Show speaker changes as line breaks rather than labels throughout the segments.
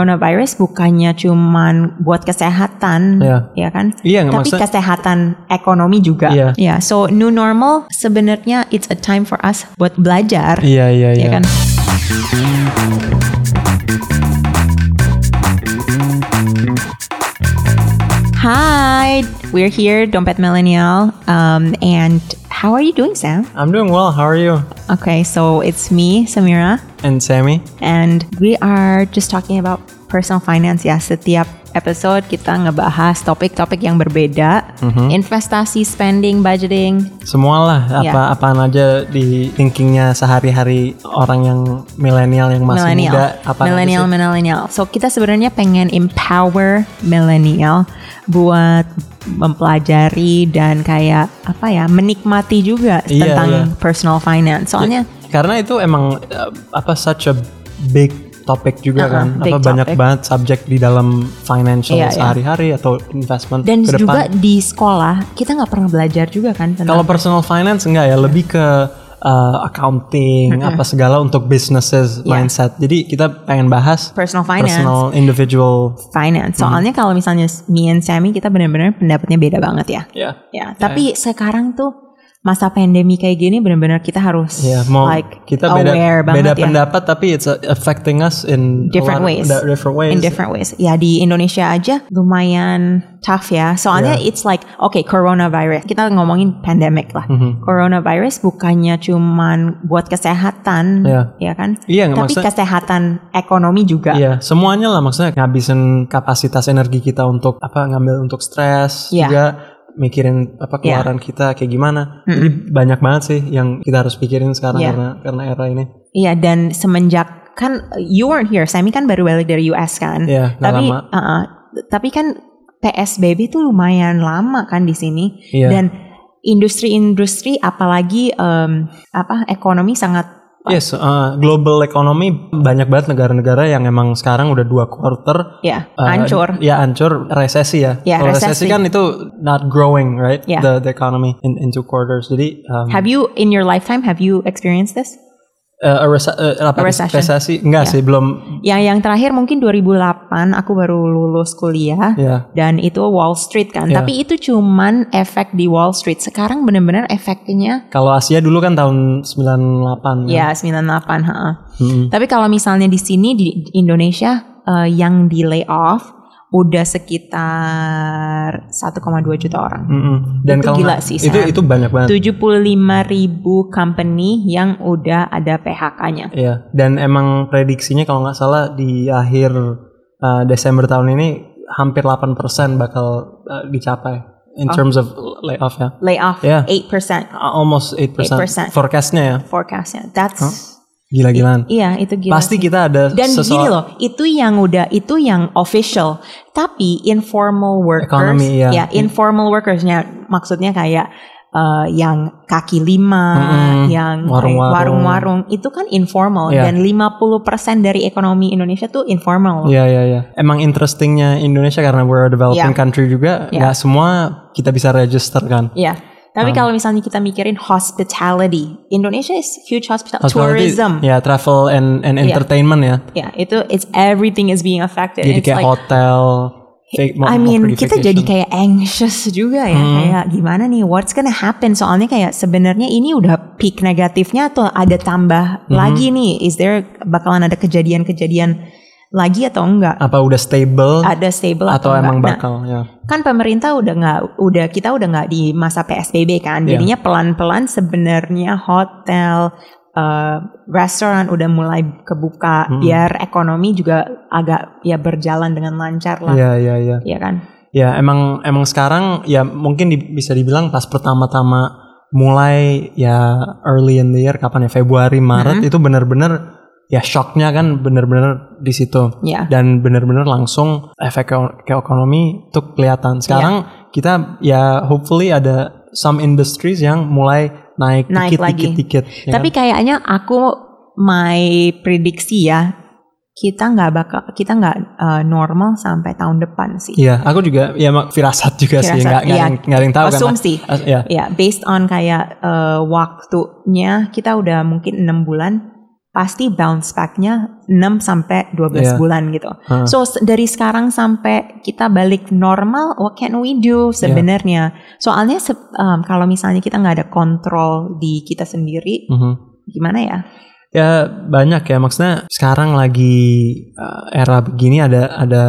coronavirus bukannya cuman buat kesehatan,
Iya.
ya kan?
Iya, nggak
Tapi
maksudnya-
kesehatan ekonomi juga.
Iya.
Ya, so new normal sebenarnya it's a time for us buat belajar,
Iya iya
ya
iya.
kan? Hi, we're here, Dompet Millennial. Um, and how are you doing, Sam?
I'm doing well. How are you?
Okay, so it's me, Samira.
And Sammy?
And we are just talking about personal finance ya. Setiap episode kita ngebahas topik-topik yang berbeda.
Mm-hmm.
Investasi, spending, budgeting.
Semualah
Iya.
apa apaan aja di thinkingnya sehari-hari orang yang milenial yang masih muda
millennial,
apa
millennial, millennial. So kita sebenarnya pengen empower millennial buat mempelajari dan kayak apa ya menikmati juga
Iya,
tentang
iya.
personal finance. Soalnya
Karena itu emang eh, apa such a big topic juga
Uh-uh,
kan.
big
Apa banyak
topic.
banget subjek di dalam financial
Iya, iya.
sehari-hari atau investment
dan
ke depan.
juga di sekolah kita nggak pernah belajar juga kan tentang
Kalau personal finance enggak ya, lebih ke uh, accounting apa segala untuk businesses
Iya.
mindset. Jadi kita pengen bahas
Personal finance.
personal individual. Mm-hmm.
finance. Soalnya kalau misalnya me and Sammy kita benar-benar pendapatnya beda banget ya.
Ya.
Ya, tapi sekarang tuh masa pandemi kayak gini benar-benar kita harus
Ya, mau
like
kita beda
aware banget
beda
ya.
pendapat tapi it's uh, affecting us in a
Different
lot of-
ways.
da- different ways.
In different ways. Ya di Indonesia aja lumayan tough ya. Soalnya it's like okay coronavirus. Kita ngomongin pandemic lah.
Mm-hmm.
Coronavirus bukannya cuman buat kesehatan,
Iya.
ya kan?
Iya, nggak
Tapi
maksudnya-
kesehatan ekonomi juga.
Iya, semuanya lah maksudnya ngabisin kapasitas energi kita untuk apa ngambil untuk stres
Iya.
juga mikirin apa
Iya.
keluaran kita kayak gimana. Jadi banyak banget sih yang kita harus pikirin sekarang
Iya.
karena karena era ini.
Iya dan semenjak kan you weren't here, Sammy kan baru balik dari US kan.
Iya, nggak
tapi
lama.
uh-uh, tapi kan PSBB itu lumayan lama kan di sini
Iya.
dan industri-industri apalagi em, apa ekonomi sangat
Yes, uh, global economy banyak banget negara-negara yang emang sekarang udah dua quarter
ya
uh,
hancur.
Ya hancur resesi ya.
Ya,
Kalau
resesi.
kan itu not growing, right?
Ya.
The the economy in, in two quarters. Jadi um,
Have you in your lifetime have you experienced this?
uh, a resa- uh, apa,
A recession. Ya.
resesi enggak sih belum
Yang yang terakhir mungkin 2008 aku baru lulus kuliah.
ya.
Dan itu Wall Street kan,
Iya.
tapi itu cuman efek di Wall Street. Sekarang benar-benar efeknya
Kalau Asia dulu kan tahun 98 ya.
ya 98, heeh.
Mm-mm.
Tapi kalau misalnya di sini di Indonesia eh, yang di layoff udah sekitar 1,2 juta orang.
Mm-mm. Dan
Itu
kalau
gila
nggak-
sih,
itu
Sam.
itu banyak banget.
75 ribu company yang udah ada PHK-nya.
Iya, dan emang prediksinya kalau nggak salah di akhir uh, Desember tahun ini hampir 8% bakal uh, dicapai
Oh.
in terms of layoff ya.
Layoff
Iya.
8%
A- Almost 8%,
8%.
forecastnya ya.
forecast-nya. That's
Gila-gilaan.
iya itu gila.
Pasti kita ada
Dan
Gitu. sesuatu
gini loh, itu yang udah itu yang official. Tapi informal workers,
Economy, iya.
ya informal workersnya maksudnya kayak eh, yang kaki lima,
Mm-mm.
yang kayak
Hmm, Warung-warung.
warung-warung itu kan informal
Iya.
dan 50% dari ekonomi Indonesia tuh informal.
Iya iya iya. Emang interestingnya Indonesia karena we're a developing
Iya.
country juga,
Iya.
nggak semua kita bisa register kan.
Iya. Tapi kalau misalnya kita mikirin hospitality, Indonesia is huge hospital
Hospitality,
tourism.
Ya travel and and entertainment ya.
Ya, itu it's everything is being affected.
Jadi
It's
kayak
like-
hotel. vac- mau- Hmm.
I
mau
mean,
pergi
kita
vacation.
jadi kayak anxious juga ya, kayak gimana nih, what's gonna happen? Soalnya kayak sebenarnya ini udah peak negatifnya atau ada tambah
Hmm.
lagi nih? Is there bakalan ada kejadian-kejadian lagi atau enggak?
apa udah stable
Ada stable atau,
atau
enggak?
emang
Nah,
bakal ya.
kan pemerintah udah nggak udah kita udah nggak di masa PSBB kan
Iya.
jadinya pelan-pelan sebenarnya hotel eh, restoran udah mulai kebuka
Hmm.
biar ekonomi juga agak ya berjalan dengan lancar lah
Iya iya iya.
ya kan
Ya emang emang sekarang ya mungkin di- bisa dibilang pas pertama-tama mulai ya early in the year kapan ya Februari Maret
Mm-hmm.
itu benar-benar ya shocknya kan benar-benar di situ
ya
dan benar-benar langsung efek ke- ke ekonomi itu kelihatan. Sekarang kita ya hopefully ada some industries yang mulai
Naik
naik dikit,
lagi.
dikit dikit ya
Tapi
kan?
kayaknya aku my prediksi ya kita nggak bakal kita nggak uh, normal sampai tahun depan sih.
Iya, aku juga ya mak firasat juga sih
Firasat,
nggak nggak
iya.
ada yang- nggak ada yang tahu kan.
Asumsi.
As- ya.
eh, Ya, based on kayak uh, waktunya kita udah mungkin enam bulan pasti bounce back-nya 6 sampai 12
Iya.
bulan gitu.
Heeh.
So s- dari sekarang sampai kita balik normal, what can we do
Iya.
sebenarnya? Soalnya se- um, kalau misalnya kita nggak ada kontrol di kita sendiri,
Mhm.
gimana ya?
Ya banyak ya maksudnya sekarang lagi uh, era begini ada ada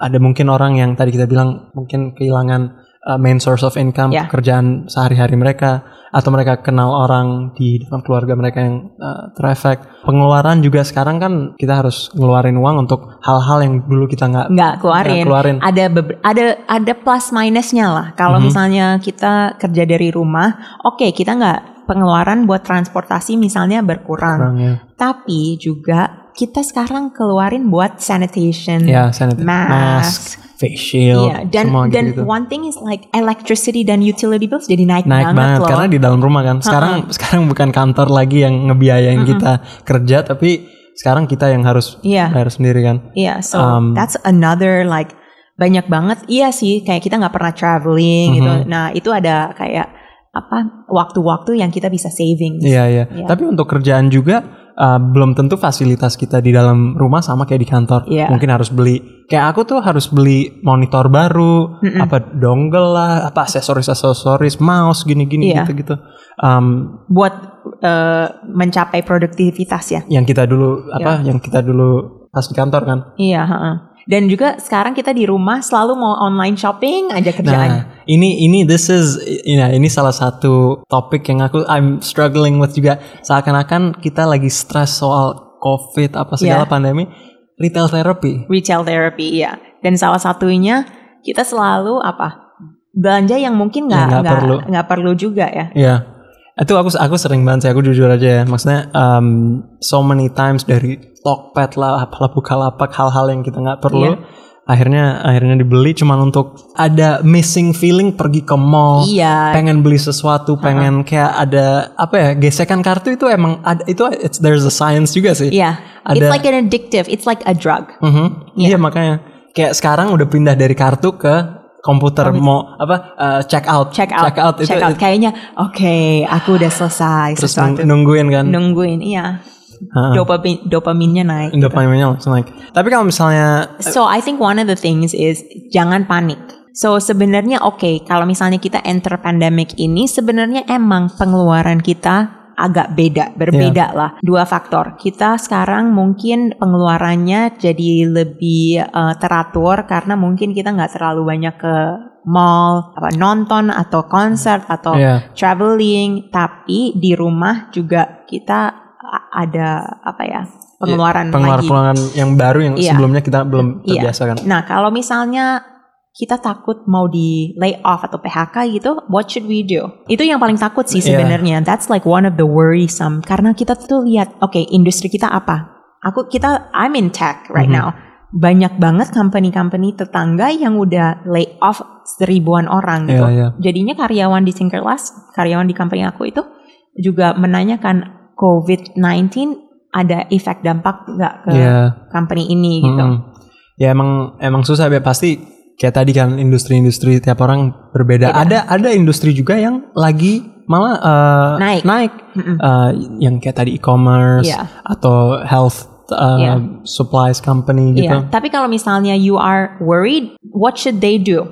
ada mungkin orang yang tadi kita bilang mungkin kehilangan uh, main source of income
Ya.
pekerjaan sehari-hari mereka atau mereka kenal orang di dalam keluarga mereka yang uh, terefek pengeluaran juga sekarang kan kita harus ngeluarin uang untuk hal-hal yang dulu kita nggak
Nggak
nggak
keluarin.
keluarin
Ada beber- ada ada plus minusnya lah. Kalau
Mhm.
misalnya kita kerja dari rumah, oke kita nggak pengeluaran buat transportasi misalnya berkurang,
Kurang, ya.
tapi juga kita sekarang keluarin buat sanitation,
ya sanitary mask,
mask.
face shield
Iya, dan
semua
dan
gitu-gitu.
one thing is like electricity dan utility bills jadi naik,
naik banget,
loh.
karena di dalam rumah kan. Sekarang sekarang bukan kantor lagi yang ngebiayain kita kerja, tapi sekarang kita yang harus
Iya.
bayar sendiri kan.
Iya, so
Um,
that's another like banyak banget. Iya sih, kayak kita nggak pernah traveling gitu.
Mhm.
Nah itu ada kayak apa waktu-waktu yang kita bisa savings.
Iya iya.
Iya.
Tapi untuk kerjaan juga uh, belum tentu fasilitas kita di dalam rumah sama kayak di kantor.
Iya.
Mungkin harus beli. Kayak aku tuh harus beli monitor baru, apa dongle lah, apa aksesoris aksesoris, mouse gini-gini
Iya.
gitu-gitu. Um,
Buat eh, mencapai produktivitas ya.
yang kita dulu apa? Yang kita dulu pas di kantor kan.
Iya. heeh. Dan juga sekarang kita di rumah selalu mau online shopping aja kerjaan.
Nah, ini ini this is you know, ini salah satu topik yang aku I'm struggling with juga seakan-akan kita lagi stres soal covid apa
Yeah.
segala pandemi retail therapy.
Retail therapy, iya. Dan salah satunya kita selalu apa belanja yang mungkin nggak
nggak
nggak
perlu.
nggak perlu juga ya.
Ya. Itu aku aku sering banget sih aku jujur aja ya. Maksudnya um, so many times dari Tokped lah apalah Bukalapak hal-hal yang kita nggak
Iya.
perlu. Akhirnya akhirnya dibeli cuman untuk ada missing feeling pergi ke mall.
Iya,
pengen beli sesuatu, pengen kayak ada apa ya gesekan kartu itu emang ada itu it's, there's a science juga sih.
Iya, it's
Ada-
like an addictive, it's like a drug.
Mhm. Iya makanya kayak sekarang udah pindah dari kartu ke komputer mau apa uh, check out
Check out,
check out itu
check out. kayaknya oke, aku udah selesai
terus
sesuatu.
nungguin kan.
Nungguin, iya.
Ha.
Dopamin, dopaminnya naik.
Dopaminnya langsung naik. Tapi kalau misalnya
So I think one of the things is jangan panik. So sebenarnya oke, kalau misalnya kita enter pandemic ini sebenarnya emang pengeluaran kita agak beda, berbeda lah. Dua faktor. Kita sekarang mungkin pengeluarannya jadi lebih eh, teratur karena mungkin kita nggak terlalu banyak ke mall, apa nonton atau konser atau
Iya.
traveling, tapi di rumah juga kita a- ada apa ya? pengeluaran, lagi.
Iya, pengeluaran yang baru yang
Iya.
sebelumnya kita belum
Iya.
terbiasa kan.
Nah, kalau misalnya kita takut mau di lay off atau PHK gitu, what should we do? Itu yang paling takut sih
Iya.
sebenarnya. That's like one of the worrisome karena kita tuh lihat, oke, industri kita apa? Aku kita I'm in tech right
Mhm.
now. Banyak banget company-company tetangga yang udah lay off seribuan orang gitu.
Iya, iya.
Jadinya karyawan di Sinkerlas, karyawan di company aku itu juga menanyakan COVID-19 ada efek dampak nggak ke
Iya.
company ini gitu.
Mm-mm. Ya emang emang susah ya pasti kayak tadi kan industri-industri tiap orang berbeda.
Beda.
Ada ada industri juga yang lagi malah uh,
Naik. Mm-mm.
Uh, yang kayak tadi e-commerce
Iya.
atau health uh,
Iya.
supplies company gitu.
Iya, tapi kalau misalnya you are worried, what should they do?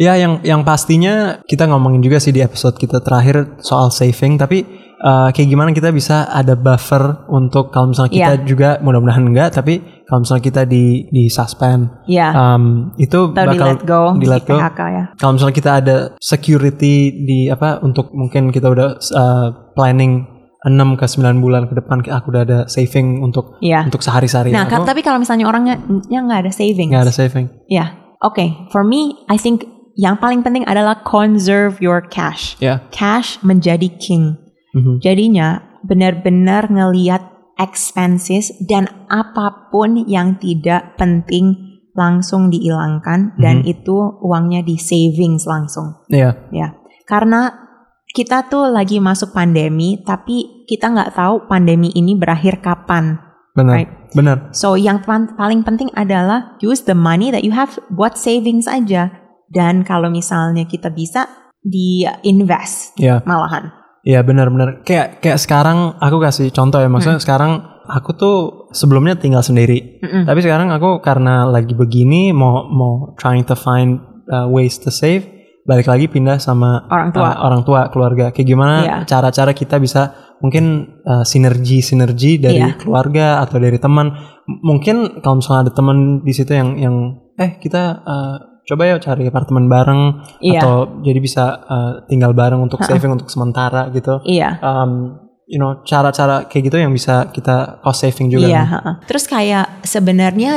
Ya yang yang pastinya kita ngomongin juga sih di episode kita terakhir soal saving tapi uh, kayak gimana kita bisa ada buffer untuk kalau misalnya kita
Iya.
juga mudah-mudahan enggak tapi kalau misalnya kita di di suspend
Ya,
um, itu
atau di
bakal
let go,
di let go.
PHK ya.
Kalau misalnya kita ada security di apa untuk mungkin kita udah uh, planning 6 ke 9 bulan ke depan aku udah ada saving untuk
Iya.
untuk sehari-hari.
Nah, ka-
aku
tapi kalau misalnya orangnya nya nggak ada savings,
nggak ada saving.
ya, oke. For me, I think yang paling penting adalah conserve your cash.
Ya.
Cash menjadi king.
Mhm.
Jadinya benar-benar ngeliat expenses dan apapun yang tidak penting langsung dihilangkan dan itu uangnya di savings langsung.
Mm-hmm. Iya.
Ya, karena kita tuh lagi masuk pandemi, tapi kita nggak tahu pandemi ini berakhir kapan.
Benar.
Right.
Benar.
So yang pan- paling penting adalah use the money that you have buat savings aja. Dan kalau misalnya kita bisa di invest
Iya.
malahan. Hmm.
Iya benar-benar kayak kayak sekarang aku kasih contoh ya maksudnya sekarang aku tuh sebelumnya tinggal sendiri.
Mm-mm.
Tapi sekarang aku karena lagi begini mau mau trying to find uh, ways to save, balik lagi pindah sama
Orang tua.
uh, orang tua keluarga. Kayak gimana
Iya.
cara-cara kita bisa mungkin uh, sinergi-sinergi dari
Iya.
keluarga atau dari teman. M- Mungkin kalau misalnya ada teman di situ yang yang eh kita uh, coba ya cari apartemen bareng
Iya.
atau jadi bisa uh, tinggal bareng untuk saving untuk sementara gitu.
Iya.
Um, you know cara-cara kayak gitu yang bisa kita cost saving juga. kan?
Iya.
nih.
heeh. Terus kayak sebenarnya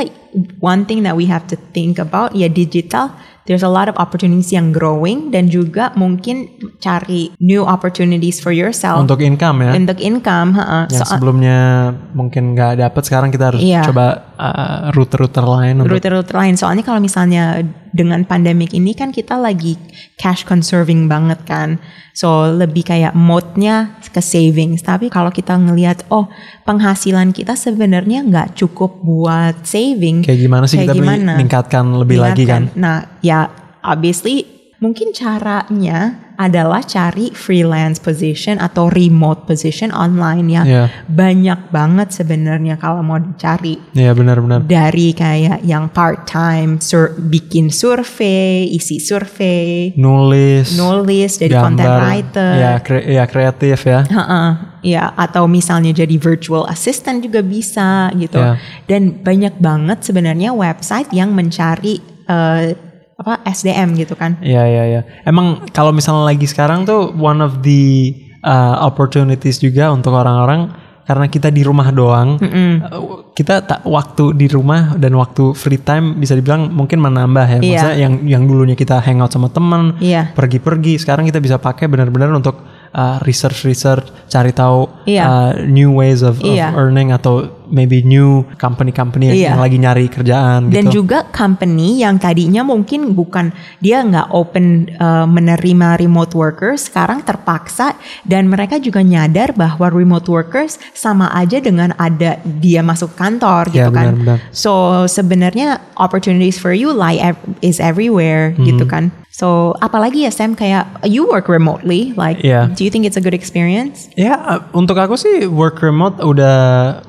one thing that we have to think about ya digital. There's a lot of opportunities yang growing dan juga mungkin cari new opportunities for yourself
Untuk income ya.
untuk income. heeh.
yang
So-
sebelumnya mungkin nggak dapet sekarang kita harus
Iya.
coba uh, rute-rute lain untuk
rute-rute lain. Soalnya kalau misalnya dengan pandemik ini kan kita lagi cash conserving banget kan. So lebih kayak mode-nya ke savings. Tapi kalau kita ngelihat oh penghasilan kita sebenarnya nggak cukup buat saving.
kayak gimana sih
Kayak
kita men-
gimana?
meningkatkan lebih lagi kan
Ingatkan. Nah ya obviously mungkin caranya adalah cari freelance position atau remote position online ya.
Iya.
Banyak banget sebenarnya kalau mau dicari
Iya benar-benar
dari kayak yang part time sur bikin survei, isi survei,
nulis
nulis jadi content
gambar
writer.
ya kre- ya kreatif ya
Heeh, ya atau misalnya jadi virtual assistant juga bisa gitu.
Ya.
Dan banyak banget sebenarnya website yang mencari eh, apa SDM gitu kan.
Iya iya iya. Emang kalau misalnya lagi sekarang tuh one of the uh, opportunities juga untuk orang-orang karena kita di rumah doang. uh, Kita tak waktu di rumah dan waktu free time bisa dibilang mungkin menambah ya.
Iya.
Maksudnya yang yang dulunya kita hangout sama teman,
Iya.
pergi-pergi, sekarang kita bisa pakai benar-benar untuk uh, research-research, cari tahu
Iya.
uh, new ways of, of
Iya.
earning atau maybe new company-company yang-
Iya.
yang lagi nyari kerjaan
Dan
gitu.
juga company yang tadinya mungkin bukan dia nggak open uh, menerima remote workers sekarang terpaksa dan mereka juga nyadar bahwa remote workers sama aja dengan ada dia masuk kantor
Ya,
gitu kan.
benar-benar.
So sebenarnya opportunities for you lie ev- is everywhere
Hmm.
gitu kan. So apalagi ya Sam kayak you work remotely like
Iya.
do you think it's a good experience?
Ya, uh, untuk aku sih work remote udah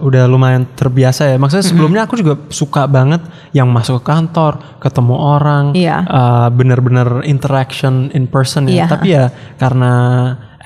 udah lumayan terbiasa ya. Maksudnya sebelumnya aku juga suka banget yang masuk ke kantor, ketemu orang,
Iya.
uh, bener-bener interaction in person ya.
Iya.
Tapi ya karena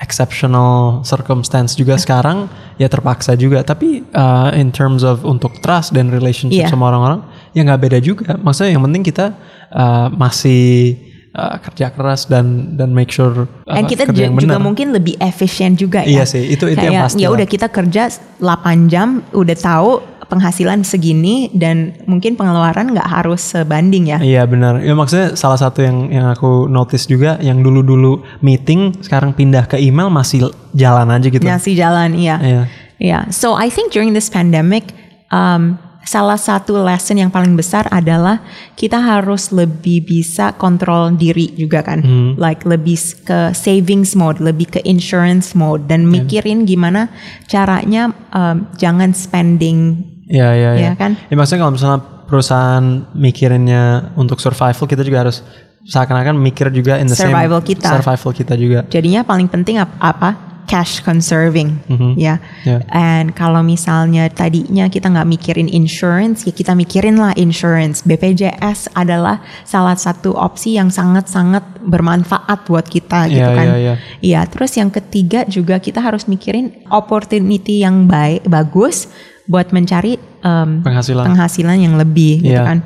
exceptional circumstance juga
Iya.
sekarang ya terpaksa juga. Tapi uh, in terms of untuk trust dan relationship
Iya.
sama orang-orang ya nggak beda juga. Maksudnya yang penting kita uh, masih uh, kerja keras dan dan make sure
Dan
apa,
kita
kerja
ju-
yang
juga
benar.
mungkin lebih efisien juga ya.
Iya sih, itu- itu yang
Kayak,
pasti
Ya
lah.
udah kita kerja 8 jam udah tahu penghasilan segini dan mungkin pengeluaran nggak harus sebanding ya.
Iya benar. Ya maksudnya salah satu yang yang aku notice juga yang dulu-dulu meeting sekarang pindah ke email masih jalan aja gitu.
Nasi jalan iya.
Iya.
Yeah. So I think during this pandemic, um, salah satu lesson yang paling besar adalah kita harus lebih bisa kontrol diri juga kan,
Hmm.
like lebih s- ke savings mode, lebih ke insurance mode,
Iya.
dan mikirin gimana caranya um, jangan spending.
Iya iya iya.
Iya kan?
Ya maksudnya kalau misalnya perusahaan mikirinnya untuk survival kita juga harus seakan-akan mikir juga in the
Survival
same
kita.
survival kita juga.
Jadinya paling penting ap- apa? Cash conserving, ya.
Mm-hmm. Yeah.
And kalau misalnya tadinya kita nggak mikirin insurance, ya kita mikirin lah insurance. BPJS adalah salah satu opsi yang sangat-sangat bermanfaat buat kita gitu
Iya,
kan.
iya, iya.
Iya, terus yang ketiga juga kita harus mikirin opportunity yang baik, bagus buat mencari em,
Penghasilan.
penghasilan yang lebih gitu
Iya.
kan.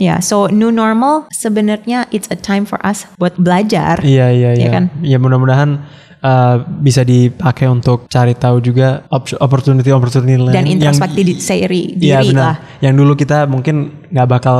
Ya, so new normal sebenarnya it's a time for us buat belajar.
Iya
Iya
iya iya.
kan?
Ya mudah-mudahan uh, bisa dipakai untuk cari tahu juga opportunity opportunity lain
dan
Nah, yang
introspeksi di- seri
Iya
diri lah.
Yang dulu kita mungkin nggak bakal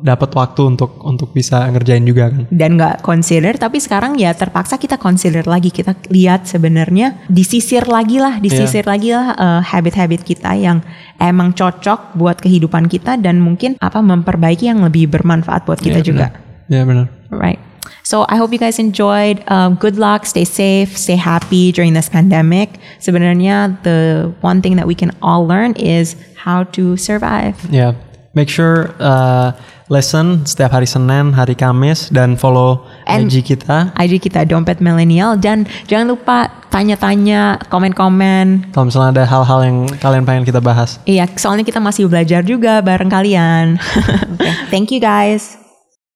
dapat waktu untuk untuk bisa ngerjain juga kan.
dan nggak consider tapi sekarang ya terpaksa kita consider lagi kita lihat sebenarnya disisir lagi
Iya.
lah disisir lagi lah eh, habit-habit kita yang emang cocok buat kehidupan kita dan mungkin apa memperbaiki yang lebih bermanfaat buat kita juga
Iya benar.
right so I hope you guys enjoyed Um, good luck stay safe stay happy during this pandemic sebenarnya the one thing that we can all learn is how to survive
Ya. Make Iya. sure uh, Lesson setiap hari Senin, hari Kamis dan follow
And-
IG kita.
IG kita dompet milenial dan jangan lupa tanya-tanya, komen-komen.
Kalau misalnya ada hal-hal yang kalian pengen kita bahas.
Iya, soalnya kita masih belajar juga bareng kalian. Oke, Thank you guys.